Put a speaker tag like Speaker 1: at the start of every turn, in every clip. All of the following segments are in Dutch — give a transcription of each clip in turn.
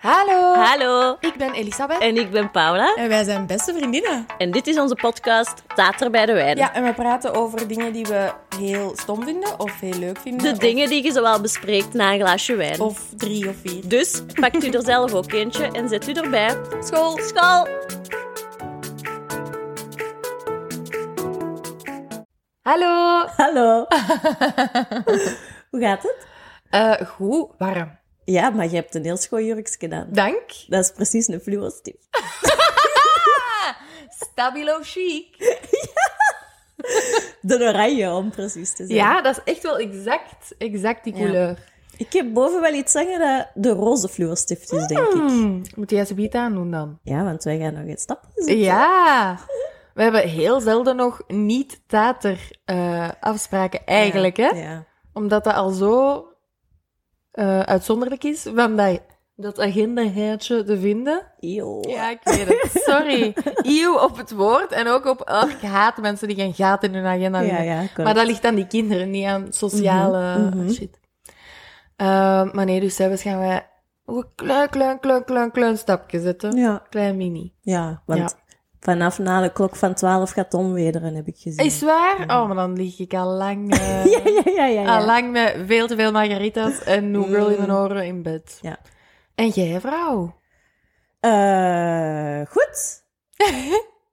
Speaker 1: Hallo.
Speaker 2: Hallo,
Speaker 1: Ik ben Elisabeth.
Speaker 2: en ik ben Paula.
Speaker 1: En wij zijn beste vriendinnen.
Speaker 2: En dit is onze podcast Tater bij de Wijn.
Speaker 1: Ja, en we praten over dingen die we heel stom vinden of heel leuk vinden.
Speaker 2: De
Speaker 1: of-
Speaker 2: dingen die je zowel bespreekt na een glaasje wijn.
Speaker 1: Of drie of vier.
Speaker 2: Dus pakt u er zelf ook eentje en zet u erbij.
Speaker 1: School.
Speaker 2: School!
Speaker 1: Hallo.
Speaker 2: Hallo. Hoe gaat het?
Speaker 1: Eh, goed, warm.
Speaker 2: Ja, maar je hebt een heel schoon jurkje gedaan.
Speaker 1: Dank.
Speaker 2: Dat is precies een fluorostip.
Speaker 1: Stabilo chic.
Speaker 2: De oranje, om precies te zijn.
Speaker 3: Ja, dat is echt wel exact, exact die
Speaker 2: Ja.
Speaker 3: kleur.
Speaker 2: Ik heb boven wel iets hangen dat de roze fluorstift is, denk ik.
Speaker 3: Hmm, moet jij ze biet aandoen dan?
Speaker 2: Ja, want wij gaan nog een stapje zetten.
Speaker 3: Ja! We hebben heel zelden nog niet-tater eh, afspraken eigenlijk, hè?
Speaker 2: Ja.
Speaker 3: Omdat dat al zo eh, uitzonderlijk is van dat, dat agendaheidje te vinden.
Speaker 2: Yo.
Speaker 3: Ja, ik weet het. Sorry. Eeuw op het woord en ook op... Oh, ik haat mensen die geen gaten in hun agenda
Speaker 2: ja,
Speaker 3: vinden.
Speaker 2: ja, correct.
Speaker 3: Maar dat ligt aan die kinderen, niet aan sociale
Speaker 2: Mhm, mhm.
Speaker 3: shit. Eh, maar nee, dus zelfs gaan wij een klein, klein, klein, klein, klein stapje zetten.
Speaker 2: Ja,
Speaker 3: Klein mini.
Speaker 2: Ja, want vanaf na de klok van 12 gaat het onwederen, heb ik gezien.
Speaker 3: Is waar? Oh, maar dan lig ik al lang, eh,
Speaker 2: Ja, ja, ja, ja. ja.
Speaker 3: al lang met veel te veel margaritas en New Girl in mijn
Speaker 2: Mm.
Speaker 3: oren in bed.
Speaker 2: Ja.
Speaker 3: En jij, vrouw?
Speaker 2: Eh, goed.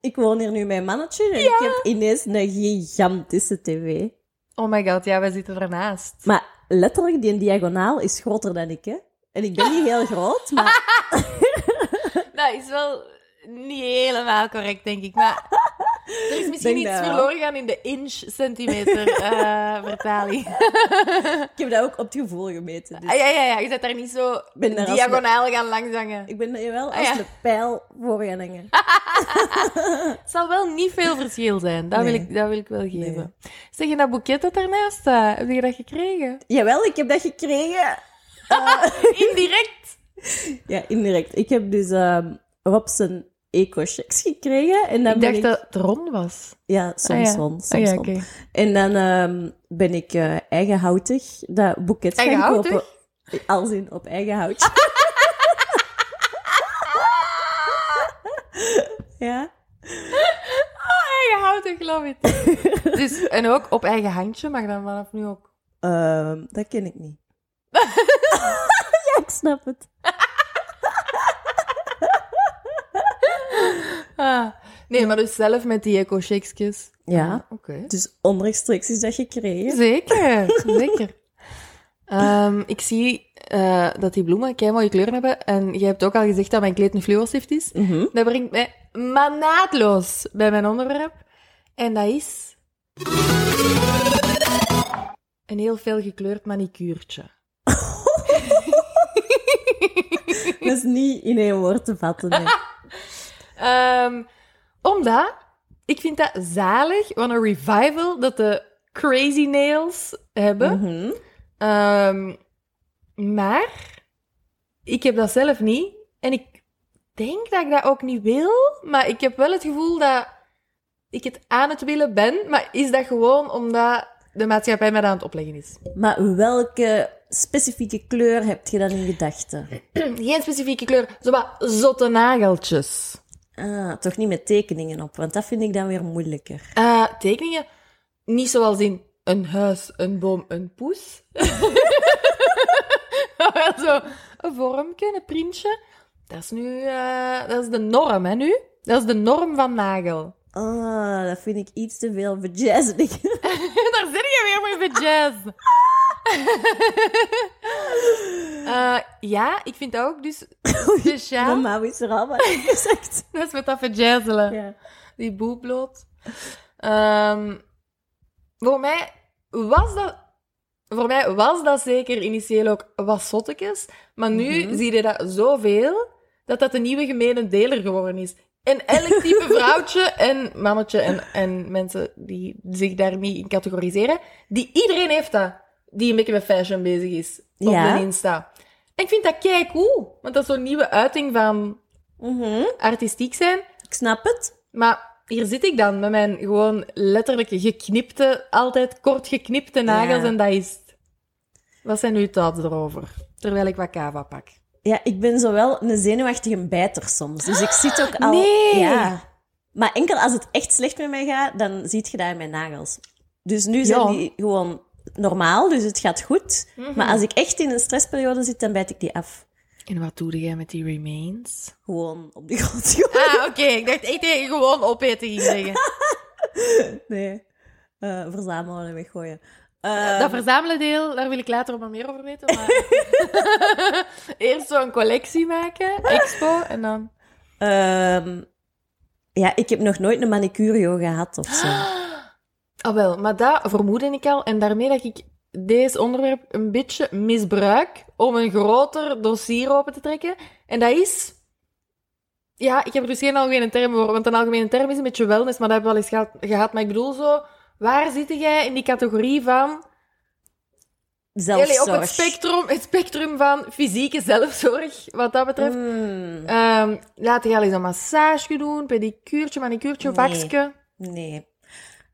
Speaker 2: ik woon hier nu met mijn mannetje en ik heb ineens een gigantische tv.
Speaker 3: Oh my god, ja, wij zitten ernaast.
Speaker 2: Maar letterlijk, die diagonaal is groter dan ik, hè. En ik ben niet heel groot, maar
Speaker 3: Dat is wel niet helemaal correct, denk ik. Maar er is misschien
Speaker 2: Denk
Speaker 3: iets
Speaker 2: dat wel.
Speaker 3: verloren gaan in de inch-centimeter eh, vertaling.
Speaker 2: ik heb dat ook op het gevoel gemeten. Dus
Speaker 3: Ah, ja, ja, ja. Je zet daar niet zo
Speaker 2: Ben daar als
Speaker 3: diagonaal gaan langzangen.
Speaker 2: ik ben er wel
Speaker 3: Ah,
Speaker 2: als
Speaker 3: ja.
Speaker 2: de pijl voor gaan hangen.
Speaker 3: Het zal wel niet veel verschil zijn. Dat,
Speaker 2: Nee.
Speaker 3: wil, ik, dat wil ik wel geven. Zeg, en dat boeket dat daarnaast staat, heb je dat gekregen?
Speaker 2: Jawel, ik heb dat gekregen.
Speaker 3: Indirect?
Speaker 2: Ja, indirect. Ik heb dus ehm Rob zijn eco-checks gekregen. En dan
Speaker 3: ik
Speaker 2: ben
Speaker 3: dacht dat het rond was.
Speaker 2: Ja, soms
Speaker 3: ja.
Speaker 2: rond,
Speaker 3: Ah,
Speaker 2: soms
Speaker 3: ja,
Speaker 2: rond.
Speaker 3: oké.
Speaker 2: En dan ehm, ben ik eh, eigenhoutig dat boeket gaan
Speaker 3: Eigenhoutig?
Speaker 2: kopen. Als in op eigen hout. ja.
Speaker 3: Eigen houten, geloof it. dus, en ook op eigen handje, maar dan vanaf nu ook.
Speaker 2: Ehm, dat ken ik niet. ja, ik snap het.
Speaker 3: Ah. Nee, maar dus zelf met die eco-shakesjes.
Speaker 2: Ja.
Speaker 3: Oké.
Speaker 2: Dus onrechtstreeks is dat gekregen.
Speaker 3: Zeker, zeker. Ehm, ik zie eh, dat die bloemen kei mooie kleuren hebben. En jij hebt ook al gezegd dat mijn kleed een fluorstift is.
Speaker 2: Mhm.
Speaker 3: Dat brengt mij manaatloos bij mijn onderwerp. En dat is... Een heel fel gekleurd manicuurtje.
Speaker 2: Dat is niet in één woord te vatten. nee.
Speaker 3: Ehm, omdat, ik vind dat zalig, van een revival dat de crazy nails hebben.
Speaker 2: Mhm.
Speaker 3: Ehm, maar ik heb dat zelf niet. En ik denk dat ik dat ook niet wil. Maar ik heb wel het gevoel dat ik het aan het willen ben. Maar is dat gewoon omdat de maatschappij mij dat aan het opleggen is?
Speaker 2: Maar welke specifieke kleur heb je dan in gedachten?
Speaker 3: Geen specifieke kleur, zomaar zotte nageltjes.
Speaker 2: Ah, toch niet met tekeningen op, want dat vind ik dan weer moeilijker.
Speaker 3: Eh, tekeningen, niet zoals in een huis, een boom, een poes. Maar wel zo een vormpje, een printje. Dat is nu, eh, dat is de norm, hè, nu? Dat is de norm van nagel.
Speaker 2: Ah, dat vind ik iets te veel bejazzing.
Speaker 3: Daar zit je weer mee met jazz. Eh, ja, ik vind dat ook dus speciaal.
Speaker 2: Normaal is er allemaal in gezegd.
Speaker 3: Dat is met dat verjazzelen.
Speaker 2: Ja.
Speaker 3: Die boel bloot. Ehm, voor, mij was dat, voor mij was dat zeker initieel ook wat zottekes. Maar nu
Speaker 2: Mhm.
Speaker 3: zie je dat zoveel, dat dat de nieuwe gemene deler geworden is. En elk type vrouwtje en mannetje en, en mensen die zich daar niet in categoriseren, die iedereen heeft dat, die een beetje met fashion bezig is op
Speaker 2: Ja.
Speaker 3: de Insta. En ik vind dat kei cool, want dat is zo'n nieuwe uiting van
Speaker 2: Mhm.
Speaker 3: artistiek zijn.
Speaker 2: Ik snap het.
Speaker 3: Maar hier zit ik dan met mijn gewoon letterlijk geknipte, altijd kort geknipte nagels
Speaker 2: Ja.
Speaker 3: en dat is het. Wat zijn uw thoughts erover? Terwijl ik wat kava pak.
Speaker 2: Ja, ik ben zowel een zenuwachtige bijter soms. Dus ik zit ook al...
Speaker 3: Nee.
Speaker 2: Ja. Maar enkel als het echt slecht met mij gaat, dan ziet je dat in mijn nagels. Dus nu zijn
Speaker 3: Ja. Mhm.
Speaker 2: die gewoon normaal, dus het gaat goed. Maar als ik echt in een stressperiode zit, dan bijt ik die af.
Speaker 3: En wat doe jij met die remains?
Speaker 2: Gewoon op de grond. gooien.
Speaker 3: Ah, oké. Ik dacht echt dat je gewoon opeten ging zeggen.
Speaker 2: Nee. Eh, verzamelen en weggooien. Eh,
Speaker 3: dat verzamelen deel, daar wil ik later maar meer over weten. Maar... Eerst zo'n collectie maken, expo, en dan...
Speaker 2: ehm, ja, ik heb nog nooit een manicurio gehad of zo.
Speaker 3: Ah wel, maar dat vermoedde ik al. En daarmee dat ik deze onderwerp een beetje misbruik om een groter dossier open te trekken. En dat is... Ja, ik heb er dus geen algemene term voor, want een algemene term is een beetje wellness, maar dat hebben we al eens geha- gehad. Maar ik bedoel zo, waar zit jij in die categorie van... Jullie
Speaker 2: Zelfzorg.
Speaker 3: op het spectrum, het spectrum van fysieke zelfzorg, wat dat betreft.
Speaker 2: Mm,
Speaker 3: Ehm laat je al eens een massage doen, pedicuurtje, manicuurtje,
Speaker 2: Nee.
Speaker 3: vakje.
Speaker 2: nee.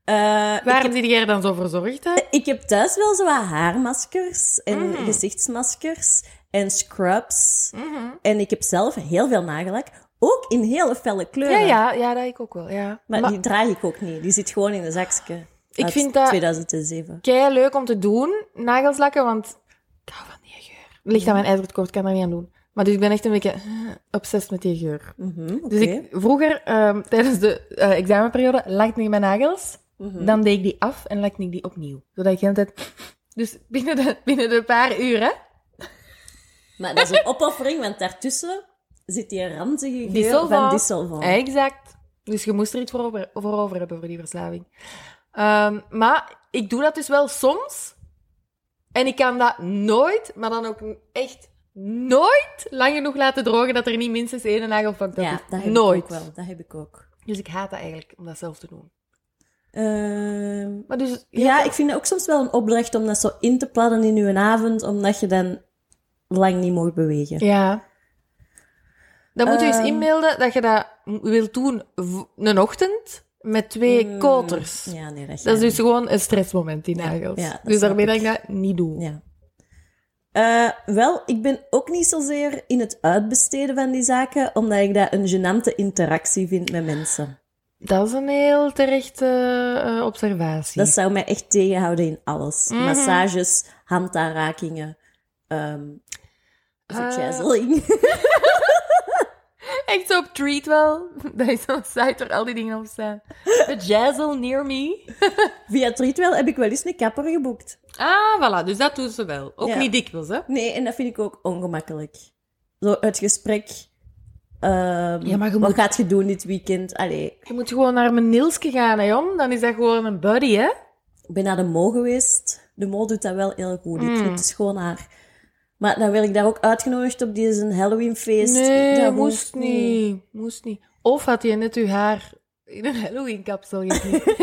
Speaker 2: Eh, ik Eh,
Speaker 3: Waarom zit jij er dan zo voor zorgd, hè?
Speaker 2: Ik heb thuis wel zo wat haarmaskers en
Speaker 3: Mm.
Speaker 2: gezichtsmaskers en scrubs.
Speaker 3: Mhm.
Speaker 2: En ik heb zelf heel veel nagellak. Ook in hele felle kleuren.
Speaker 3: Ja, ja, ja, dat ik ook wel, ja.
Speaker 2: Maar,
Speaker 3: Maar,
Speaker 2: die draag ik ook niet. Die zit gewoon in een zakje.
Speaker 3: Ik
Speaker 2: Uit
Speaker 3: vind dat-
Speaker 2: 2007.
Speaker 3: kei leuk om te doen, nagels lakken, want ik hou van die geur. Ligt aan mijn ijzertekort, kan er niet aan doen. Maar dus ik ben echt een beetje eh, obsessed met die geur.
Speaker 2: Mhm, oké.
Speaker 3: Dus ik, vroeger, ehm, tijdens de eh, examenperiode, lakte ik mijn nagels.
Speaker 2: Mhm.
Speaker 3: Dan deed ik die af en lakte ik die opnieuw. Zodat ik de hele tijd... Dus binnen de, binnen de paar uur, hè.
Speaker 2: Maar dat is een opoffering, want daartussen zit die ranzige geur
Speaker 3: Dissolvan.
Speaker 2: van dissolvan.
Speaker 3: Exact. Dus je moest er iets voor over, voor over hebben voor die verslaving. Ehm, maar ik doe dat dus wel soms. En ik kan dat nooit, maar dan ook echt nooit lang genoeg laten drogen dat er niet minstens één nagel van
Speaker 2: Ja,
Speaker 3: is.
Speaker 2: dat heb
Speaker 3: nooit.
Speaker 2: ik ook wel. Dat heb ik ook.
Speaker 3: Dus ik haat dat eigenlijk om dat zelf te doen.
Speaker 2: Ehm,
Speaker 3: Maar dus,
Speaker 2: ja, ik vind het ook soms wel een opdracht om dat zo in te plannen in uw avond, omdat je dan lang niet mag bewegen.
Speaker 3: Ja. Dan moet je eens
Speaker 2: Ehm.
Speaker 3: inbeelden dat je dat m- wilt doen v- een ochtend met twee
Speaker 2: Mm,
Speaker 3: koters.
Speaker 2: Ja, nee, dat,
Speaker 3: Dat is
Speaker 2: gaat
Speaker 3: dus gewoon een stressmoment, die
Speaker 2: Ja,
Speaker 3: nagels.
Speaker 2: ja, dat
Speaker 3: dus
Speaker 2: snap
Speaker 3: daarmee dat ik
Speaker 2: ik.
Speaker 3: dat niet doe.
Speaker 2: niet. Ja. Eh, wel, ik ben ook niet zozeer in het uitbesteden van die zaken, omdat ik dat een gênante interactie vind met mensen.
Speaker 3: Dat is een heel terechte eh, observatie.
Speaker 2: Dat zou mij echt tegenhouden in alles.
Speaker 3: Mhm.
Speaker 2: Massages, handaanrakingen, ehm
Speaker 3: Eh,
Speaker 2: verjazzeling.
Speaker 3: Echt zo op treat wel. Dat is zo'n site waar al die dingen op staan. The Jazzle Near Me.
Speaker 2: Via Treatwell heb ik wel eens een kapper geboekt.
Speaker 3: Ah, voilà. Dus dat doen ze wel. Ook
Speaker 2: Ja.
Speaker 3: niet dikwijls, hè?
Speaker 2: Nee, en dat vind ik ook ongemakkelijk. Zo het gesprek. ehm,
Speaker 3: Ja, maar je
Speaker 2: wat
Speaker 3: moet-
Speaker 2: gaat je doen dit weekend? Allee,
Speaker 3: Je moet gewoon naar mijn Nielske gaan, hè, jong. Dan is dat gewoon een buddy, hè?
Speaker 2: ik ben naar de Mo geweest. De Mo doet dat wel heel goed.
Speaker 3: Mm.
Speaker 2: Ik vind het schoon haar. Maar dan werd ik daar ook uitgenodigd op deze Halloweenfeest.
Speaker 3: Nee,
Speaker 2: Dat
Speaker 3: moest
Speaker 2: hoeft
Speaker 3: niet. Moest niet. Of had je net je haar in een Halloween-kapsel geknipt?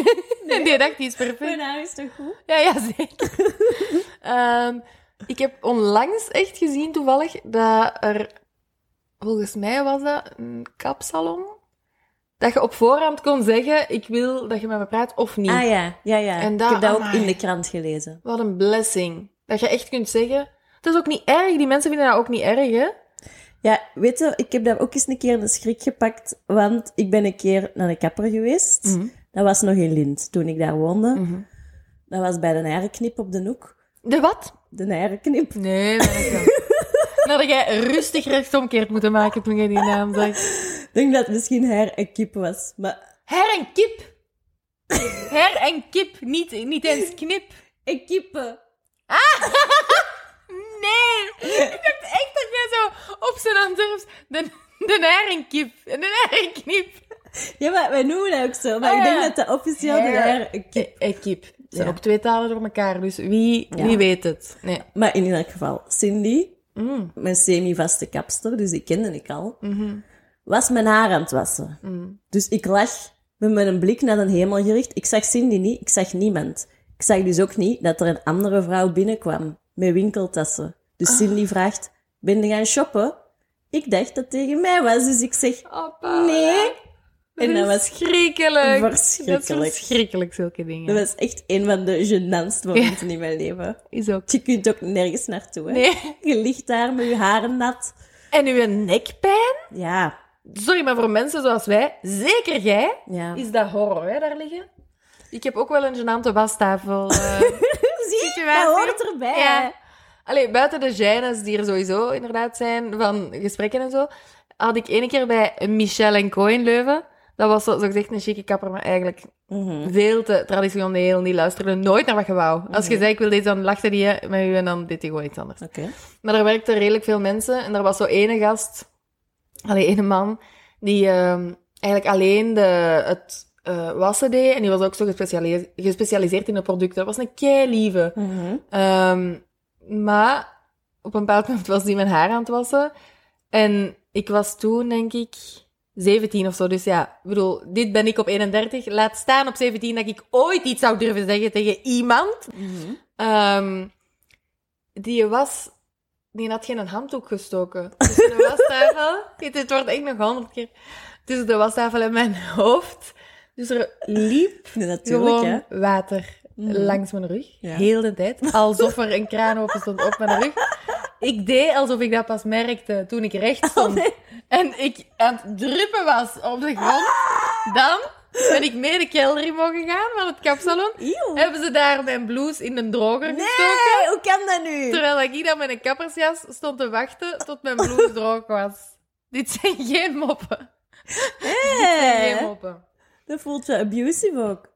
Speaker 3: En die dacht, die is perfect.
Speaker 2: Mijn haar is toch goed?
Speaker 3: Ja, ja, zeker. Ehm, ik heb onlangs echt gezien, toevallig, dat er... Volgens mij was dat een kapsalon. Dat je op voorhand kon zeggen, ik wil dat je met me praat of niet.
Speaker 2: Ah ja, ja, ja.
Speaker 3: En
Speaker 2: ik
Speaker 3: dat-
Speaker 2: heb dat ook
Speaker 3: amai.
Speaker 2: in de krant gelezen.
Speaker 3: Wat een blessing. Dat je echt kunt zeggen... Dat is ook niet erg. Die mensen vinden dat ook niet erg, hè?
Speaker 2: Ja, weet je, ik heb daar ook eens een keer een schrik gepakt. Want ik ben een keer naar de kapper geweest.
Speaker 3: Hmm.
Speaker 2: Dat was nog in Lind, toen ik daar woonde.
Speaker 3: Mhm.
Speaker 2: Dat was bij de Nijrenknip op de hoek.
Speaker 3: De wat?
Speaker 2: De Nijrenknip.
Speaker 3: Nee, dat ik wel. Nou, dat jij rustig rechtsomkeert moeten maken toen jij die naam zag.
Speaker 2: Ik denk dat het misschien haar en kip was. Maar
Speaker 3: Her en kip. Her en kip. Niet, niet eens knip.
Speaker 2: en kippen.
Speaker 3: Nee! Ik dacht echt dat jij zo op zijn Antwerps de, de narenkip en de narenknip.
Speaker 2: Ja, maar wij noemen dat ook zo. Maar
Speaker 3: Ah,
Speaker 2: ik
Speaker 3: ja.
Speaker 2: denk dat dat officieel de
Speaker 3: Her.
Speaker 2: haar en kip...
Speaker 3: Een eh, kip. Ze zijn
Speaker 2: Ja.
Speaker 3: ook twee talen door elkaar, dus wie,
Speaker 2: Ja.
Speaker 3: wie weet het? Nee.
Speaker 2: Maar in elk geval, Cindy,
Speaker 3: Mm.
Speaker 2: mijn semi-vaste kapster, dus die kende ik al,
Speaker 3: Mhm.
Speaker 2: was mijn haar aan het wassen.
Speaker 3: Mm.
Speaker 2: Dus ik lag met mijn blik naar de hemel gericht. Ik zag Cindy niet, ik zag niemand. Ik zag dus ook niet dat er een andere vrouw binnenkwam met winkeltassen.
Speaker 3: Ah.
Speaker 2: Dus Cindy vraagt, ben je gaan shoppen? Ik dacht dat tegen mij was, dus ik zeg,
Speaker 3: Oh, Paula.
Speaker 2: Nee. En dat was
Speaker 3: verschrikkelijk. Dat is
Speaker 2: verschrikkelijk.
Speaker 3: verschrikkelijk, zulke dingen.
Speaker 2: dat was echt een van de gênantste momenten in mijn leven.
Speaker 3: Is ook.
Speaker 2: Je kunt ook nergens naartoe. Hè?
Speaker 3: Nee.
Speaker 2: Je ligt daar met je haren nat.
Speaker 3: En uw nekpijn?
Speaker 2: Ja,
Speaker 3: Sorry, maar voor mensen zoals wij, zeker jij,
Speaker 2: ja.
Speaker 3: is dat horror, hè, daar liggen. Ik heb ook wel een genante wastafel. eh,
Speaker 2: Zie,
Speaker 3: situatie.
Speaker 2: dat hoort erbij.
Speaker 3: Ja. Allee, buiten de gênes die er sowieso inderdaad zijn van gesprekken en zo, had ik ene keer bij Michel en Co in Leuven. Dat was zo, zo gezegd een chique kapper, maar eigenlijk
Speaker 2: Mhm.
Speaker 3: veel te traditioneel. Die luisterde nooit naar wat je wou. Als je
Speaker 2: Mhm.
Speaker 3: zei, ik wil dit, dan lachte die hè, met u en dan deed hij gewoon iets anders.
Speaker 2: Oké.
Speaker 3: Maar er werkten redelijk veel mensen. En er was zo ene gast, alleen ene man, die ehm, eigenlijk alleen de, het eh, wassen deed. En die was ook zo gespecialise- gespecialiseerd in de producten. Dat was een kei lieve.
Speaker 2: Mhm.
Speaker 3: Ehm, maar op een bepaald moment was die mijn haar aan het wassen. En ik was toen, denk ik, 17 of zo. Dus ja, ik bedoel, dit ben ik op 31. Laat staan op 17 dat ik ooit iets zou durven zeggen tegen iemand.
Speaker 2: Mhm.
Speaker 3: Ehm, die was... Die had geen handdoek gestoken. Dus de wastafel... dit, dit wordt echt nog honderd keer. Dus Tussen de wastafel en mijn hoofd. Dus er liep
Speaker 2: Nee, natuurlijk, hè.
Speaker 3: gewoon water
Speaker 2: Mhm.
Speaker 3: langs mijn rug.
Speaker 2: Ja.
Speaker 3: Heel de tijd. Alsof er een kraan open stond op mijn rug. Ik deed alsof ik dat pas merkte toen ik recht
Speaker 2: Oh,
Speaker 3: stond. En ik aan het druppen was op de grond. Dan ben ik mee de kelder in mogen gaan van het kapsalon.
Speaker 2: Eeuw.
Speaker 3: Hebben ze daar mijn blouse in de droger Eh, gestoken.
Speaker 2: Nee, hoe kan dat nu?
Speaker 3: Terwijl ik dan met een kappersjas stond te wachten tot mijn blouse droog was. Dit zijn geen moppen. Geen
Speaker 2: Nee.
Speaker 3: moppen.
Speaker 2: Dat voelt wel abusive ook.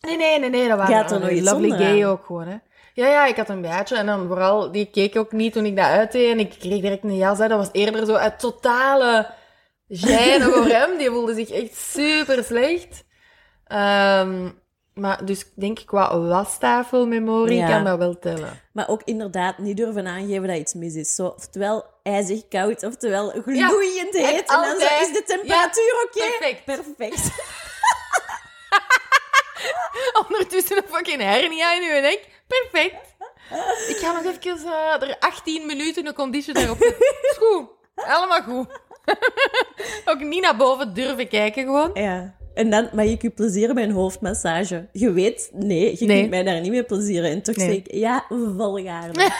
Speaker 3: Nee, nee, nee, nee, dat waren
Speaker 2: had er nog
Speaker 3: andere
Speaker 2: iets
Speaker 3: Lovely
Speaker 2: onder
Speaker 3: gay
Speaker 2: aan.
Speaker 3: ook gewoon, hè. Ja, ja, ik had een bijtje en dan vooral, die keek ook niet toen ik dat uitdeed en ik kreeg direct een jas uit. Dat was eerder zo uit totale gêne voor hem. Die voelde zich echt super slecht. Ehm, maar dus ik denk qua wastafelmemorie
Speaker 2: Ja.
Speaker 3: kan dat wel tellen.
Speaker 2: Maar ook inderdaad niet durven aangeven dat iets mis is. Zo, oftewel ijzig koud, oftewel gloeiend
Speaker 3: en
Speaker 2: heet. En dan zo,
Speaker 3: altijd-
Speaker 2: is de temperatuur oké?
Speaker 3: perfect.
Speaker 2: Perfect.
Speaker 3: Ondertussen een fucking hernia in uw nek. Perfect. Ik ga nog even eh, er 18 minuten een conditioner op. Is goed. Allemaal goed. Ook niet naar boven durven kijken gewoon.
Speaker 2: Ja. En dan mag ik u plezieren bij een hoofdmassage. Je weet, nee, je
Speaker 3: Nee.
Speaker 2: kunt mij daar niet mee plezieren. En toch
Speaker 3: Nee.
Speaker 2: zeg ik, ja, volgaarde.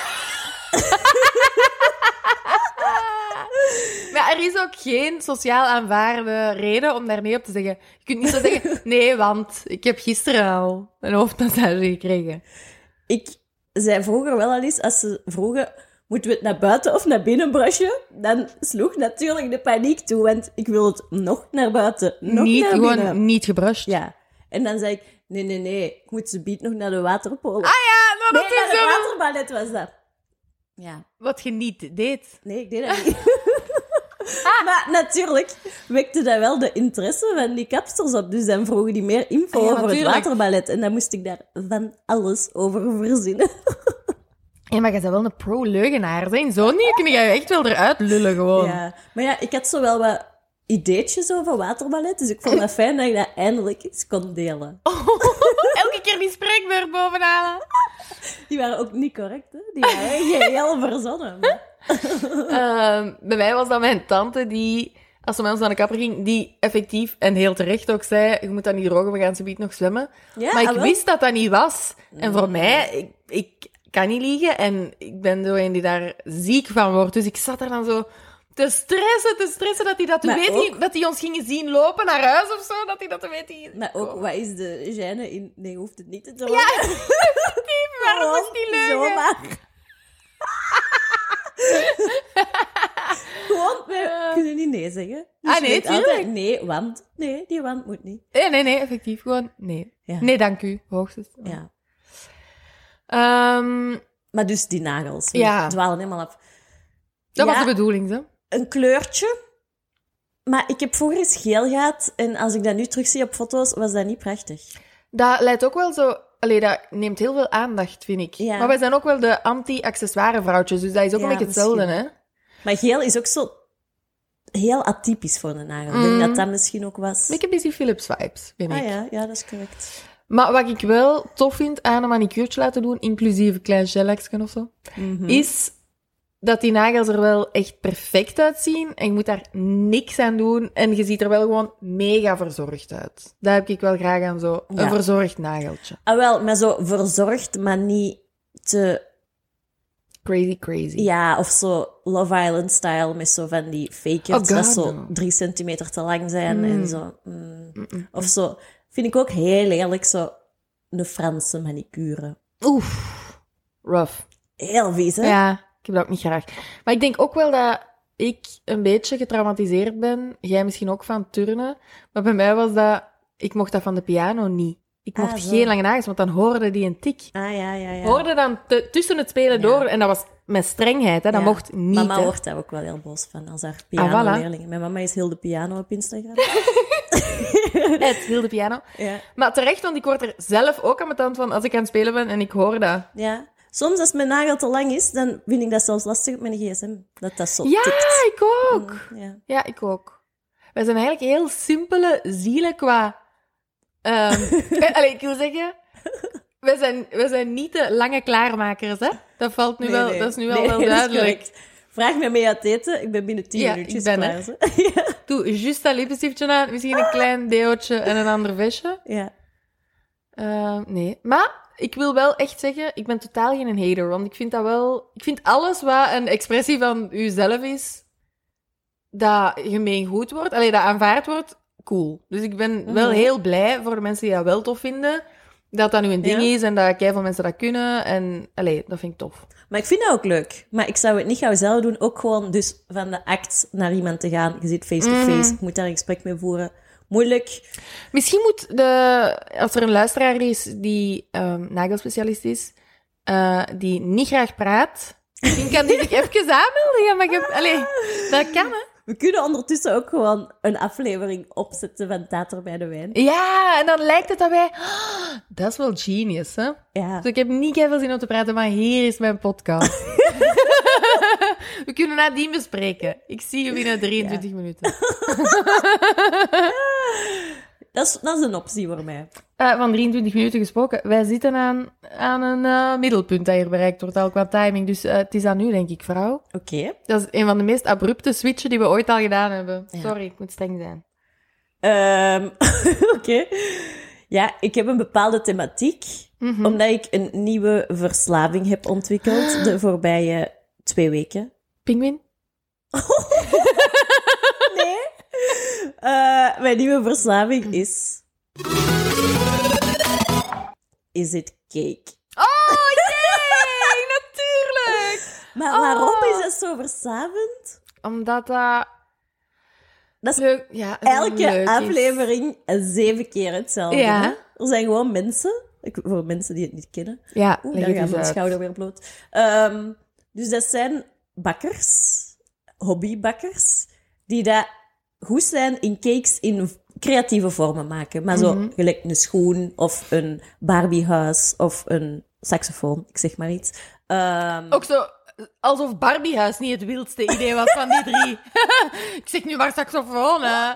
Speaker 3: Maar er is ook geen sociaal aanvaarde reden om daar nee op te zeggen. Je kunt niet zo zeggen, nee, want ik heb gisteren al een hoofdmassage gekregen.
Speaker 2: Ik zei vroeger wel al eens, als ze vroegen, moeten we het naar buiten of naar binnen brushen? Dan sloeg natuurlijk de paniek toe, want ik wil het nog naar buiten, nog
Speaker 3: niet,
Speaker 2: naar
Speaker 3: gewoon
Speaker 2: binnen.
Speaker 3: niet gebrushed.
Speaker 2: Ja. En dan zei ik, nee, nee, nee, ik moet ze biedt nog naar de waterpolen.
Speaker 3: Ah Ja, maar
Speaker 2: nee,
Speaker 3: Nou, dat
Speaker 2: naar
Speaker 3: is
Speaker 2: de
Speaker 3: zo...
Speaker 2: waterballet was dat. Ja.
Speaker 3: Wat je niet deed.
Speaker 2: Nee, ik deed dat niet.
Speaker 3: Ah.
Speaker 2: maar natuurlijk wekte dat wel de interesse van die kapsters op. Dus dan vroegen die meer info
Speaker 3: Ja,
Speaker 2: over het
Speaker 3: natuurlijk.
Speaker 2: waterballet. En dan moest ik daar van alles over verzinnen.
Speaker 3: Ja, maar je bent wel een pro-leugenaar. hè. In zo'n dingen kun je echt wel eruit lullen gewoon.
Speaker 2: Ja. Maar ja, ik had zo wel wat ideetjes over waterballet. Dus ik vond het fijn dat ik dat eindelijk eens kon delen.
Speaker 3: Oh. Elke keer die spreekbeurt bovenhalen.
Speaker 2: Die waren ook niet correct, hè? Die waren geheel verzonnen. maar-
Speaker 3: Ehm, bij mij was dat mijn tante die, als ze met ons naar de kapper ging, die effectief en heel terecht ook zei, je moet dat niet drogen, we gaan ze nog zwemmen.
Speaker 2: Ja,
Speaker 3: maar ik
Speaker 2: ah, wel. Mm.
Speaker 3: wist dat dat niet was. En voor mij, ik, ik kan niet liegen en ik ben zo een die daar ziek van wordt. Dus ik zat daar dan zo te stressen, te stressen dat hij dat
Speaker 2: Maar
Speaker 3: weet
Speaker 2: ook-
Speaker 3: niet, dat hij ons gingen zien lopen naar huis of zo, dat hij dat weet niet.
Speaker 2: Maar ook, wat is de gêne in... Nee, je hoeft het niet te doen.
Speaker 3: Waarom
Speaker 2: Gewoon
Speaker 3: was die leugen?
Speaker 2: Zomaar. Gewoon, we kunnen niet nee zeggen. Dus
Speaker 3: Ah,
Speaker 2: je
Speaker 3: nee,
Speaker 2: weet
Speaker 3: tuurlijk.
Speaker 2: altijd nee, want... Nee, die want moet niet.
Speaker 3: Nee, Eh, nee, nee, effectief gewoon nee.
Speaker 2: Ja.
Speaker 3: Nee, dank u, hoogstens.
Speaker 2: Ja.
Speaker 3: Ehm,
Speaker 2: Maar dus die nagels. we
Speaker 3: Ja.
Speaker 2: dwalen helemaal af.
Speaker 3: dat was
Speaker 2: Ja.
Speaker 3: de bedoeling, hè?
Speaker 2: Een kleurtje. Maar ik heb vroeger eens geel gehad. En als ik dat nu terugzie op foto's, was dat niet prachtig.
Speaker 3: Dat leidt ook wel zo. Allee, dat neemt heel veel aandacht, vind ik.
Speaker 2: Ja.
Speaker 3: Maar wij zijn ook wel de anti-accessoire vrouwtjes, dus dat is ook
Speaker 2: Ja,
Speaker 3: een beetje hetzelfde, hè?
Speaker 2: Maar geel is ook zo heel atypisch voor een nagel. Ik
Speaker 3: Mm.
Speaker 2: denk dat dat misschien ook was.
Speaker 3: Make a busy Philips vibes, vind ik.
Speaker 2: Ah ja, ja, dat is correct.
Speaker 3: Maar wat ik wel tof vind aan een manicuurtje laten doen, inclusief een klein gelakje of zo,
Speaker 2: Mhm.
Speaker 3: is dat die nagels er wel echt perfect uitzien en je moet daar niks aan doen en je ziet er wel gewoon mega verzorgd uit. Daar heb ik wel graag aan zo,
Speaker 2: Ja.
Speaker 3: een verzorgd nageltje.
Speaker 2: Ah, wel, maar zo verzorgd, maar niet te
Speaker 3: Crazy, crazy.
Speaker 2: Ja, of zo Love Island-style met zo van die fake
Speaker 3: Oh,
Speaker 2: dat
Speaker 3: God,
Speaker 2: zo
Speaker 3: no.
Speaker 2: drie centimeter te lang zijn
Speaker 3: Mm.
Speaker 2: en zo. Mm.
Speaker 3: Mm-mm.
Speaker 2: Of zo, vind ik ook heel eerlijk, zo een Franse manicure.
Speaker 3: Oef. Rough.
Speaker 2: Heel vies, hè?
Speaker 3: Ja, ik heb dat ook niet graag. Maar ik denk ook wel dat ik een beetje getraumatiseerd ben. Jij misschien ook van turnen. Maar bij mij was dat... Ik mocht dat van de piano niet. Ik
Speaker 2: Ah,
Speaker 3: mocht
Speaker 2: zo.
Speaker 3: geen lange nagels, want dan hoorde die een tik.
Speaker 2: Ah, ja, ja, ja.
Speaker 3: Hoorde dan te- tussen het spelen
Speaker 2: Ja.
Speaker 3: door. En dat was met strengheid. Hè. Dat
Speaker 2: Ja.
Speaker 3: mocht niet.
Speaker 2: Mama
Speaker 3: hè. Ah,
Speaker 2: wordt daar ook wel heel boos van, als haar
Speaker 3: voilà.
Speaker 2: pianoleerling. Mijn mama is heel de piano op Instagram.
Speaker 3: Het wilde piano.
Speaker 2: ja.
Speaker 3: Maar terecht, want ik word er zelf ook aan mijn tand van als ik aan het spelen ben en ik hoor dat.
Speaker 2: ja. Soms, als mijn nagel te lang is, dan vind ik dat zelfs lastig op mijn gsm. Dat dat zo
Speaker 3: Ja,
Speaker 2: tikt.
Speaker 3: ik ook.
Speaker 2: Ja.
Speaker 3: Ja, ik ook. Wij zijn eigenlijk heel simpele zielen qua... ehm eh, allee, ik wil zeggen... Wij zijn, wij zijn niet de lange klaarmakers, hè? Dat valt nu
Speaker 2: Nee,
Speaker 3: wel...
Speaker 2: nee.
Speaker 3: Dat is nu wel,
Speaker 2: Nee,
Speaker 3: wel
Speaker 2: dat is
Speaker 3: duidelijk.
Speaker 2: correct. Vraag me mee uit eten. Ik ben binnen tien
Speaker 3: Ja, ik
Speaker 2: minuutjes
Speaker 3: ben
Speaker 2: klaar.
Speaker 3: er.
Speaker 2: zo. ja.
Speaker 3: Doe juist dat lippenstiftje aan. Misschien een klein deeltje en een ander vestje.
Speaker 2: ja.
Speaker 3: Ehm, nee. Maar ik wil wel echt zeggen, ik ben totaal geen hater. Want ik vind dat wel... Ik vind alles wat een expressie van uzelf is, dat gemeen goed wordt, alleen dat aanvaard wordt, cool. Dus ik ben wel
Speaker 2: Mhm.
Speaker 3: heel blij voor de mensen die dat wel tof vinden, dat dat nu een ding
Speaker 2: Ja.
Speaker 3: is en dat veel mensen dat kunnen. En allee, dat vind ik tof.
Speaker 2: Maar ik vind dat ook leuk. Maar ik zou het niet gauw zelf doen. Ook gewoon dus van de act naar iemand te gaan. Je zit
Speaker 3: Mm.
Speaker 2: face-to-face. Ik moet daar een gesprek mee voeren. Moeilijk.
Speaker 3: Misschien moet de... Als er een luisteraar is die ehm nagelspecialist is, eh, die niet graag praat... Misschien kan die zich even aanmelden. Ja, maar je hebt- allee, dat kan, hè.
Speaker 2: We kunnen ondertussen ook gewoon een aflevering opzetten van Tater bij de Wijn.
Speaker 3: Ja, en dan lijkt het dat wij... "Ah, Dat is wel genius, hè?
Speaker 2: Ja.
Speaker 3: Dus ik heb niet heel veel zin om te praten, maar hier is mijn podcast. We kunnen nadien bespreken. Ik zie je binnen 23 minuten.
Speaker 2: Dat is, dat is een optie voor mij.
Speaker 3: Eh, van 23 minuten gesproken, wij zitten aan, aan een eh, middelpunt dat hier bereikt wordt, al qua timing. Dus eh, het is aan u, denk ik, vrouw.
Speaker 2: Oké.
Speaker 3: Dat is een van de meest abrupte switchen die we ooit al gedaan hebben.
Speaker 2: Ja.
Speaker 3: Sorry, ik moet streng zijn.
Speaker 2: Ehm, Oké. Ja, ik heb een bepaalde thematiek.
Speaker 3: Mhm.
Speaker 2: Omdat ik een nieuwe verslaving heb ontwikkeld de voorbije twee weken.
Speaker 3: Pinguïn?
Speaker 2: Nee. Eh, mijn nieuwe
Speaker 3: Mhm.
Speaker 2: verslaving is... Is het cake?
Speaker 3: Oh, jee! natuurlijk!
Speaker 2: Maar
Speaker 3: Oh.
Speaker 2: waarom is dat zo verslavend?
Speaker 3: Omdat dat...
Speaker 2: Dat is
Speaker 3: leuk, ja,
Speaker 2: Elke
Speaker 3: leuk is.
Speaker 2: aflevering zeven keer hetzelfde.
Speaker 3: Ja.
Speaker 2: hè? Er zijn gewoon mensen, ik, voor mensen die het niet kennen,
Speaker 3: Ja,
Speaker 2: Oeh,
Speaker 3: leg
Speaker 2: daar
Speaker 3: het
Speaker 2: gaat
Speaker 3: eens
Speaker 2: mijn
Speaker 3: uit.
Speaker 2: schouder weer bloot. Ehm, dus dat zijn bakkers, hobbybakkers, die dat goed zijn in cakes in v- creatieve vormen maken. Maar zo
Speaker 3: Mhm.
Speaker 2: gelijk een schoen of een Barbiehuis of een saxofoon, ik zeg maar iets. Ehm,
Speaker 3: Ook zo, alsof Barbiehuis niet het wildste idee was van die drie. ik zeg nu maar saxofoon, hè.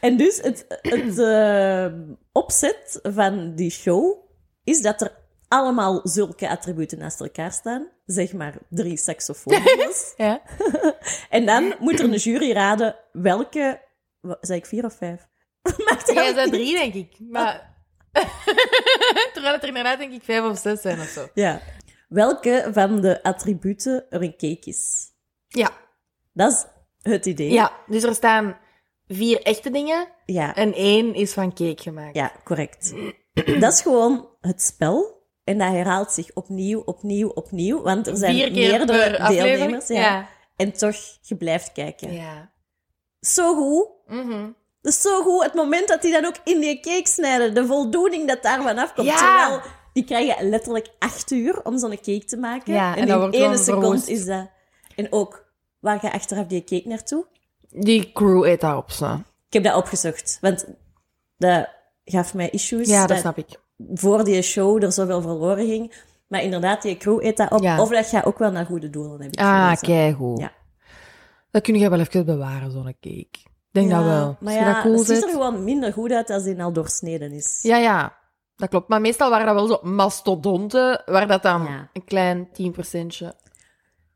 Speaker 2: En dus het, het eh, opzet van die show is dat er allemaal zulke attributen naast elkaar staan. Zeg maar drie saxofoons.
Speaker 3: Ja.
Speaker 2: en dan moet er een jury raden welke... wa- Zei ik vier of vijf? Maakt dat
Speaker 3: Jij
Speaker 2: ook
Speaker 3: zijn
Speaker 2: niet?
Speaker 3: drie, denk ik. Maar... Terwijl het er inderdaad, denk ik, vijf of zes zijn of zo.
Speaker 2: Ja. Welke van de attributen er een cake is.
Speaker 3: Ja.
Speaker 2: Dat is het idee.
Speaker 3: Ja, dus er staan vier echte dingen
Speaker 2: Ja,
Speaker 3: en één is van cake gemaakt.
Speaker 2: ja correct. dat is gewoon het spel. En dat herhaalt zich opnieuw, opnieuw, opnieuw. Want er zijn
Speaker 3: vier keer
Speaker 2: meerdere
Speaker 3: per aflevering.
Speaker 2: deelnemers. Ja.
Speaker 3: Ja.
Speaker 2: En toch, je blijft kijken.
Speaker 3: Ja.
Speaker 2: Zo goed.
Speaker 3: Mhm.
Speaker 2: Dat is zo goed. Het moment dat die dan ook in die cake snijden. De voldoening dat daarvan afkomt.
Speaker 3: Ja.
Speaker 2: Terwijl, die krijgen letterlijk acht uur om zo'n cake te maken.
Speaker 3: Ja, en
Speaker 2: en
Speaker 3: dat
Speaker 2: in
Speaker 3: wordt
Speaker 2: ene
Speaker 3: gewoon verwoest.
Speaker 2: seconde is dat. En ook, waar ga je achteraf die cake naartoe?
Speaker 3: Die crew eet daarop, zo.
Speaker 2: Ik heb dat opgezocht. Want dat gaf mij issues.
Speaker 3: Ja, dat snap ik.
Speaker 2: Voor die show er zoveel verloren ging. Maar inderdaad, die crew eet dat op.
Speaker 3: Ja.
Speaker 2: Of dat gaat ook wel naar goede doelen, heb ik
Speaker 3: Ah,
Speaker 2: gelezen.
Speaker 3: keigoed.
Speaker 2: Ja.
Speaker 3: Dat kun je wel even bewaren, zo'n cake. Ik Denk
Speaker 2: Ja,
Speaker 3: dat wel.
Speaker 2: Maar
Speaker 3: Als je
Speaker 2: ja,
Speaker 3: dat cool
Speaker 2: het ziet
Speaker 3: vindt.
Speaker 2: er gewoon minder goed uit als die al doorsneden is.
Speaker 3: Ja, ja. Dat klopt. Maar meestal waren dat wel zo mastodonten, waar dat dan
Speaker 2: Ja.
Speaker 3: een klein 10%.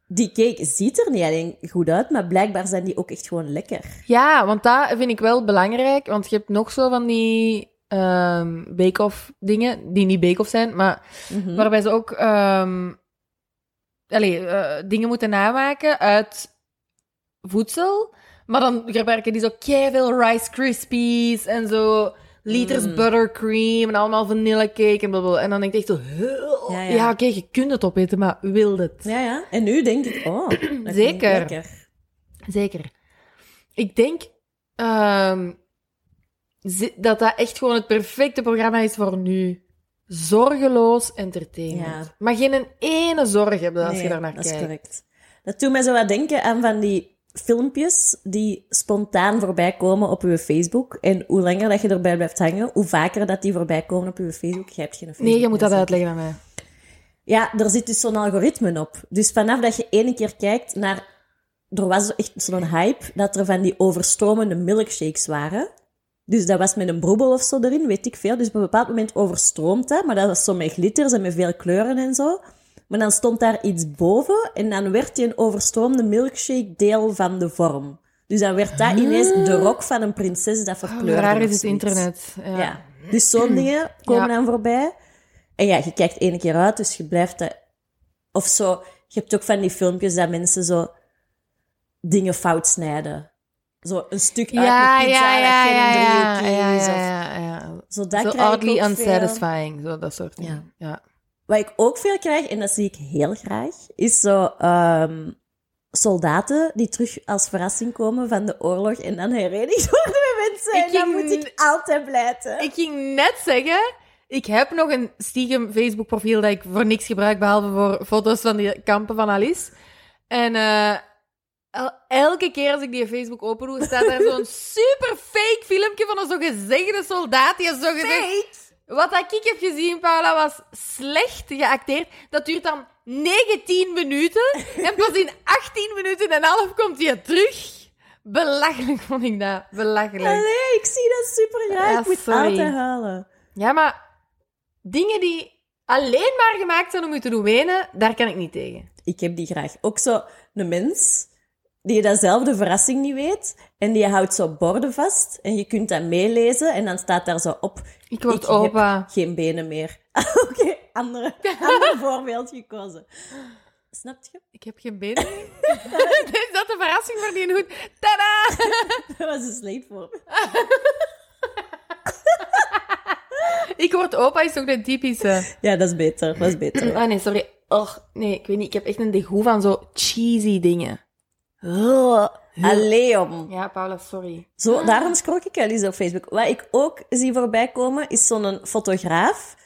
Speaker 2: Die cake ziet er niet alleen goed uit, maar blijkbaar zijn die ook echt gewoon lekker.
Speaker 3: Ja, want dat vind ik wel belangrijk. Want je hebt nog zo van die ehm bake-off dingen, die niet bake-off zijn, maar
Speaker 2: Mhm.
Speaker 3: waarbij ze ook ehm, allee, eh, dingen moeten namaken uit voedsel. Maar dan gebruiken die zo veel Rice Krispies en zo liters
Speaker 2: Mm.
Speaker 3: buttercream en allemaal vanillecake en blablabla. En dan denk ik echt zo... "Huh."
Speaker 2: Ja,
Speaker 3: Ja,
Speaker 2: ja.
Speaker 3: oké, je kunt het opeten, maar wil het?
Speaker 2: Ja, ja. En nu denk ik, oh, dat klinkt
Speaker 3: Zeker.
Speaker 2: lekker.
Speaker 3: Zeker. Ik denk ehm, zi- dat dat echt gewoon het perfecte programma is voor nu. Zorgeloos entertainment.
Speaker 2: Ja.
Speaker 3: Maar geen een ene zorg hebben als je
Speaker 2: Nee,
Speaker 3: daarnaar
Speaker 2: dat
Speaker 3: kijkt.
Speaker 2: is correct. Dat doet mij zo wat denken aan van die filmpjes die spontaan voorbij komen op je Facebook. En hoe langer dat je erbij blijft hangen, hoe vaker dat die voorbij komen op je Facebook. Je hebt geen Facebook.
Speaker 3: Nee, je moet dat
Speaker 2: mensen.
Speaker 3: uitleggen aan mij.
Speaker 2: Ja, er zit dus zo'n algoritme op. Dus vanaf dat je ene keer kijkt naar... Er was echt zo'n hype dat er van die overstromende milkshakes waren. Dus dat was met een broebel of zo erin, weet ik veel. Dus op een bepaald moment overstroomt dat, maar dat was zo met glitters en met veel kleuren en zo. Maar dan stond daar iets boven en dan werd die een overstroomde milkshake deel van de vorm. Dus dan werd dat ineens de rok van een prinses dat
Speaker 3: Hoe
Speaker 2: verkleurde.
Speaker 3: Ah. Oh, raar
Speaker 2: of
Speaker 3: is het
Speaker 2: zoiets.
Speaker 3: internet. Ja.
Speaker 2: Ja. Dus zo'n dingen komen
Speaker 3: Ja.
Speaker 2: dan voorbij. En ja, je kijkt één keer uit, dus je blijft dat... Of zo, je hebt ook van die filmpjes dat mensen zo dingen fout snijden. Zo een stuk uit
Speaker 3: Ja,
Speaker 2: de
Speaker 3: ja,
Speaker 2: pizza
Speaker 3: ja,
Speaker 2: dat
Speaker 3: ja,
Speaker 2: geen
Speaker 3: ja,
Speaker 2: driehoek
Speaker 3: ja,
Speaker 2: is.
Speaker 3: ja,
Speaker 2: Of,
Speaker 3: ja, ja.
Speaker 2: zo dat
Speaker 3: Zo
Speaker 2: krijg ik
Speaker 3: oddly
Speaker 2: ook veel.
Speaker 3: unsatisfying, zo dat soort dingen. Ja.
Speaker 2: Wat ik ook veel krijg, en dat zie ik heel graag, is zo ehm, soldaten die terug als verrassing komen van de oorlog en dan herenigd worden met mensen.
Speaker 3: Ik
Speaker 2: en dan
Speaker 3: ging-
Speaker 2: moet ik altijd blijten.
Speaker 3: Ik ging net zeggen, ik heb nog een stiekem Facebook profiel dat ik voor niks gebruik, behalve voor foto's van die kampen van Alice. En eh, el- elke keer als ik die Facebook open doe, staat daar zo'n super fake filmpje van een zogezegde soldaat. Die een zogezegd... Wat dat ik heb gezien, Paula, was slecht geacteerd. Dat duurt dan 19 minuten. En pas in 18 minuten en een half komt hij terug. Belachelijk vond ik dat. Belachelijk.
Speaker 2: Allee, ik zie dat super graag.
Speaker 3: Ja,
Speaker 2: ik moet
Speaker 3: sorry.
Speaker 2: altijd huilen.
Speaker 3: Ja, maar dingen die alleen maar gemaakt zijn om u te doen wenen, daar kan ik niet tegen.
Speaker 2: Ik heb die graag. Ook zo een mens die datzelfde verrassing niet weet en die houdt zo borden vast en je kunt dat meelezen en dan staat daar zo op
Speaker 3: Ik
Speaker 2: ik
Speaker 3: word
Speaker 2: heb
Speaker 3: opa.
Speaker 2: geen benen meer. Oké, andere, ander voorbeeld gekozen. Snap je?
Speaker 3: Ik heb geen benen. Is dat de verrassing voor die hoed? Tada!
Speaker 2: Dat was een slecht voorbeeld.
Speaker 3: Ik word opa is toch de typische...
Speaker 2: Ja, dat is beter. Dat is beter.
Speaker 3: Ah nee, sorry. Och, nee, ik weet niet. Ik heb echt een degoe van zo cheesy dingen. Ugh.
Speaker 2: Allee, om.
Speaker 3: Ja, Paula, sorry.
Speaker 2: Zo, daarom schrok ik wel eens op Facebook. Wat ik ook zie voorbij komen, is zo'n fotograaf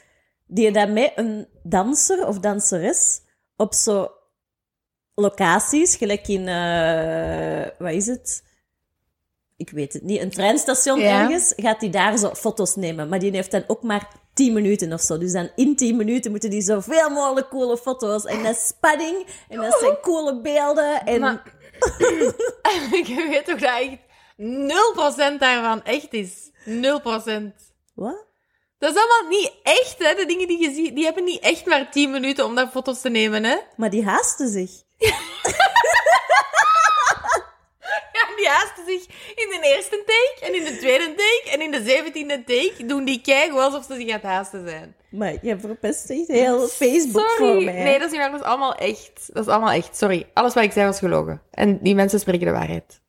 Speaker 2: die dan met een danser of danseres op zo locaties, gelijk in, eh, wat is het? Ik weet het niet, een treinstation
Speaker 3: Ja.
Speaker 2: ergens, gaat die daar zo foto's nemen. Maar die heeft dan ook maar 10 minuten of zo. Dus dan in 10 minuten moeten die zoveel mogelijk coole foto's. En dat is spanning, en dat zijn coole beelden. En
Speaker 3: Maar- ik weet toch dat echt 0% daarvan echt is. 0%.
Speaker 2: wat?
Speaker 3: Dat is allemaal niet echt, hè? De dingen die je ziet, die hebben niet echt maar 10 minuten om daar foto's te nemen, hè?
Speaker 2: Maar die haasten zich.
Speaker 3: Ja, die haasten zich in de eerste take en in de tweede take en in de zeventiende take doen die keigoed alsof ze zich aan het haasten zijn.
Speaker 2: Maar je verpest echt heel Facebook
Speaker 3: Sorry.
Speaker 2: voor mij.
Speaker 3: Nee, dat is niet waar. Dat is allemaal echt. Dat is allemaal echt. Sorry. Alles wat ik zei was gelogen. En die mensen spreken de waarheid.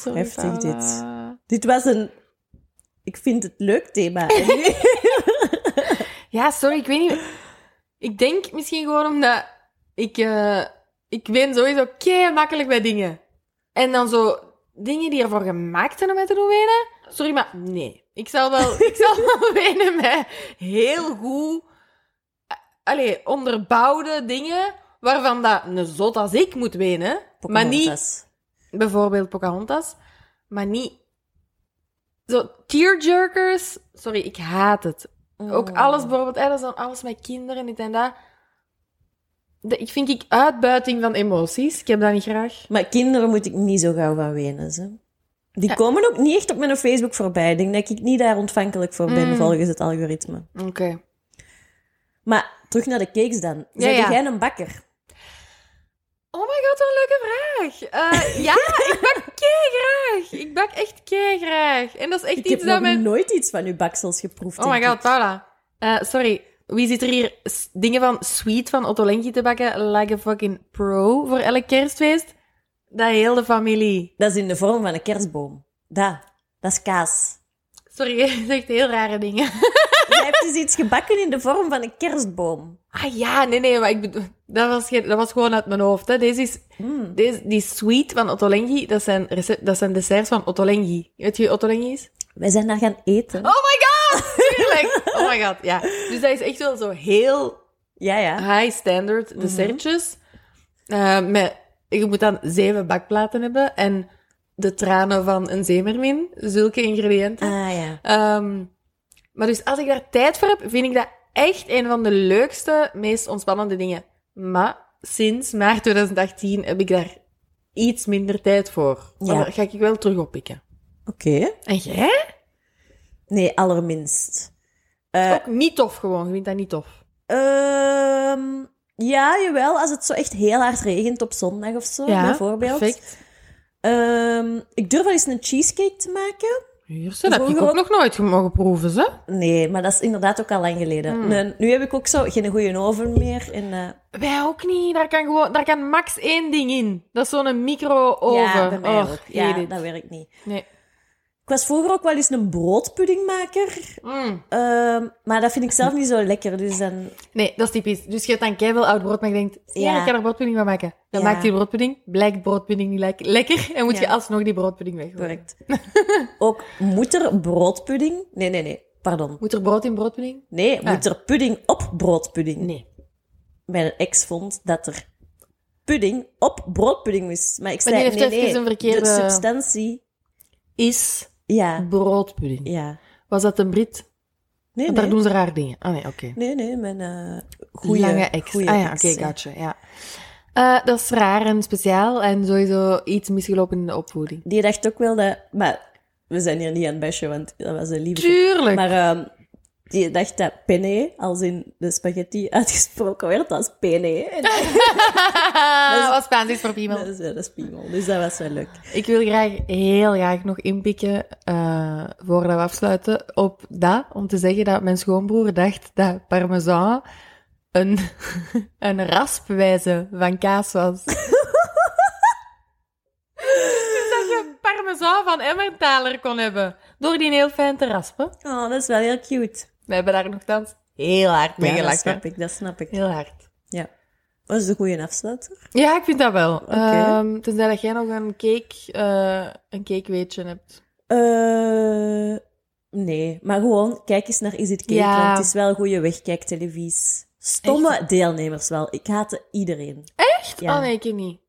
Speaker 3: Sorry,
Speaker 2: heftig
Speaker 3: Paula.
Speaker 2: dit. Dit was een... Ik vind het leuk thema. En nu-
Speaker 3: Ja, sorry, ik weet niet. Ik denk misschien gewoon omdat ik, eh, ik win sowieso kei makkelijk bij dingen. En dan zo dingen die ervoor gemaakt zijn om mij te doen wenen. Sorry, maar nee. Ik zal wel, ik zal wel wenen met heel goed, eh, allee, onderbouwde dingen waarvan dat een zot als ik moet wenen. Maar niet
Speaker 2: Pocahontas.
Speaker 3: bijvoorbeeld Pocahontas, maar niet zo tearjerkers. Sorry, ik haat het.
Speaker 2: Oh.
Speaker 3: Ook alles bijvoorbeeld, hè, dat is dan alles met kinderen, dit en dat. De, ik vind ik uitbuiting van emoties. Ik heb dat niet graag.
Speaker 2: Maar kinderen moet ik niet zo gauw van wenen. Ze. Die komen ook niet echt op mijn Facebook voorbij. Ik denk dat ik niet daar ontvankelijk voor ben,
Speaker 3: Mm.
Speaker 2: volgens het algoritme.
Speaker 3: Oké.
Speaker 2: Maar terug naar de cakes dan. Zijn
Speaker 3: ja.
Speaker 2: jij een bakker?
Speaker 3: Oh my god, wat een leuke vraag. Eh, ja, ik bak kei graag. Ik bak echt kei graag. En dat is echt
Speaker 2: Ik
Speaker 3: iets
Speaker 2: heb nog
Speaker 3: dat mijn...
Speaker 2: nooit iets van uw baksels geproefd.
Speaker 3: Oh my
Speaker 2: denk
Speaker 3: god,
Speaker 2: ik.
Speaker 3: Paula. Eh, sorry, Wie zit er hier s- dingen van sweet van Otto Lengi te bakken? Like a fucking pro voor elk kerstfeest? Dat heel de familie.
Speaker 2: Dat is in de vorm van een kerstboom. Dat. Dat is kaas.
Speaker 3: Sorry, je zegt heel rare dingen.
Speaker 2: Jij hebt dus iets gebakken in de vorm van een kerstboom.
Speaker 3: Ah ja, nee, nee, maar ik bedoel, dat was, geen- dat was gewoon uit mijn hoofd. Hè. Deze is,
Speaker 2: Mm.
Speaker 3: deze, die sweet van Otto Lengi, dat zijn, recept, dat zijn desserts van Otto Lengi. Weet je wie Otto Lengi is?
Speaker 2: Wij zijn daar gaan eten.
Speaker 3: Oh my god! Tuurlijk! Oh my god, ja. Dus dat is echt wel zo heel
Speaker 2: Ja, ja.
Speaker 3: high standard dessertjes. Eh, met, je moet dan zeven bakplaten hebben en de tranen van een zeemermin. Zulke ingrediënten.
Speaker 2: Ah ja.
Speaker 3: Ehm, maar dus als ik daar tijd voor heb, vind ik dat echt een van de leukste, meest ontspannende dingen. Maar sinds maart 2018 heb ik daar iets minder tijd voor. Maar
Speaker 2: Ja.
Speaker 3: daar ga ik wel terug oppikken.
Speaker 2: Oké.
Speaker 3: En jij?
Speaker 2: Nee, allerminst. Eh,
Speaker 3: Ook niet tof gewoon. Je vindt dat niet tof.
Speaker 2: Ehm, ja, jawel. Als het zo echt heel hard regent op zondag of zo, bijvoorbeeld.
Speaker 3: perfect.
Speaker 2: Ehm, ik durf wel eens een cheesecake te maken.
Speaker 3: Hier, ze, dat heb ik
Speaker 2: Vroeger
Speaker 3: ook nog nooit mogen proeven, ze.
Speaker 2: Nee, maar dat is inderdaad ook al lang geleden.
Speaker 3: Hmm.
Speaker 2: Nee, nu heb ik ook zo geen goede oven meer. En, eh,
Speaker 3: Wij ook niet. Daar kan, gewoon, daar kan max één ding in. Dat is zo'n micro-oven.
Speaker 2: Ja, bij mij
Speaker 3: Och,
Speaker 2: ook. Ja,
Speaker 3: hate it.
Speaker 2: dat werkt niet.
Speaker 3: Nee.
Speaker 2: Ik was vroeger ook wel eens een broodpuddingmaker.
Speaker 3: Mm.
Speaker 2: Ehm, maar dat vind ik zelf niet zo lekker. Dus dan...
Speaker 3: Nee, dat is typisch. Dus je hebt dan keiveel oud brood, maar je denkt, ja,
Speaker 2: Ja.
Speaker 3: ik kan er broodpudding van maken. Dan
Speaker 2: Ja.
Speaker 3: maakt die broodpudding, blijkt broodpudding niet lek- lekker en moet
Speaker 2: Ja.
Speaker 3: je alsnog die broodpudding weggooien.
Speaker 2: Correct. ook moet er broodpudding... Nee, nee, nee. Pardon.
Speaker 3: Moet er brood in broodpudding?
Speaker 2: Nee,
Speaker 3: Ah.
Speaker 2: moet er pudding op broodpudding?
Speaker 3: Nee.
Speaker 2: Mijn ex vond dat er pudding op broodpudding moest. Maar ik
Speaker 3: Maar
Speaker 2: zei,
Speaker 3: die heeft
Speaker 2: nee,
Speaker 3: even
Speaker 2: nee,
Speaker 3: een verkeerde-
Speaker 2: de substantie...
Speaker 3: Is
Speaker 2: Ja,
Speaker 3: broodpudding.
Speaker 2: eh, ja.
Speaker 3: Was dat een Brit?
Speaker 2: Nee,
Speaker 3: Want
Speaker 2: nee.
Speaker 3: daar doen ze raar dingen. Ah nee, oké.
Speaker 2: Nee, nee, mijn eh goeie,
Speaker 3: Goeie Lange ex.
Speaker 2: goeie
Speaker 3: ah ja,
Speaker 2: ex,
Speaker 3: oké, gotcha. Ja. Eh, dat is raar en speciaal en sowieso iets misgelopen in de opvoeding.
Speaker 2: Die dacht ook wel dat... Maar we zijn hier niet aan het bashen, want dat was een lieve
Speaker 3: Tuurlijk.
Speaker 2: Maar ehm, die dacht dat penne, als in de spaghetti uitgesproken werd, als penne. En
Speaker 3: dat was Spaans is voor iemand.
Speaker 2: dat is wel een spiegel, dus dat was wel leuk.
Speaker 3: Ik wil graag, heel graag nog inpikken, eh, voordat we afsluiten, op dat, om te zeggen dat mijn schoonbroer dacht dat parmesan een, een raspwijze van kaas was. dus dat je parmesan van Emmentaler kon hebben, door die heel fijn te raspen.
Speaker 2: Oh, dat is wel heel cute.
Speaker 3: We hebben daar nogthans heel hard mee
Speaker 2: Ja, dat
Speaker 3: gelachen.
Speaker 2: snap ik, dat snap ik.
Speaker 3: Heel hard.
Speaker 2: Ja. Dat is de goede afsluiter.
Speaker 3: Ja, ik vind dat wel.
Speaker 2: Oké.
Speaker 3: Ehm, tenzij dat jij nog een cake, eh een cakeweetje hebt.
Speaker 2: Eh, nee, maar gewoon kijk eens naar Is It Cake,
Speaker 3: Ja.
Speaker 2: want het is wel goede wegkijktelevisie. Stomme deelnemers wel. Ik haatte iedereen. Echt? Ja.
Speaker 3: Oh nee, ik ken niet.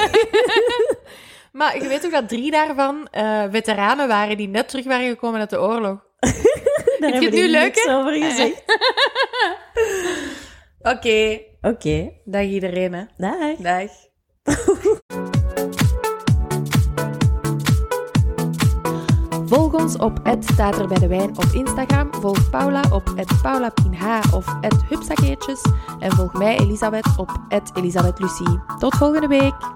Speaker 3: maar je weet ook dat drie daarvan eh, veteranen waren die net terug waren gekomen uit de oorlog.
Speaker 2: Daar
Speaker 3: vind
Speaker 2: hebben
Speaker 3: het nu
Speaker 2: die
Speaker 3: leuk,
Speaker 2: niks
Speaker 3: hè?
Speaker 2: over gezegd.
Speaker 3: Oké,
Speaker 2: Oké,
Speaker 3: dag iedereen hè.
Speaker 2: dag.
Speaker 3: Dag. Volg ons op het staat er bij de wijn op Instagram. Volg Paula op het paulapinh of het hupsakeertjes. En volg mij Elisabeth op het Elisabeth Lucie. Tot volgende week.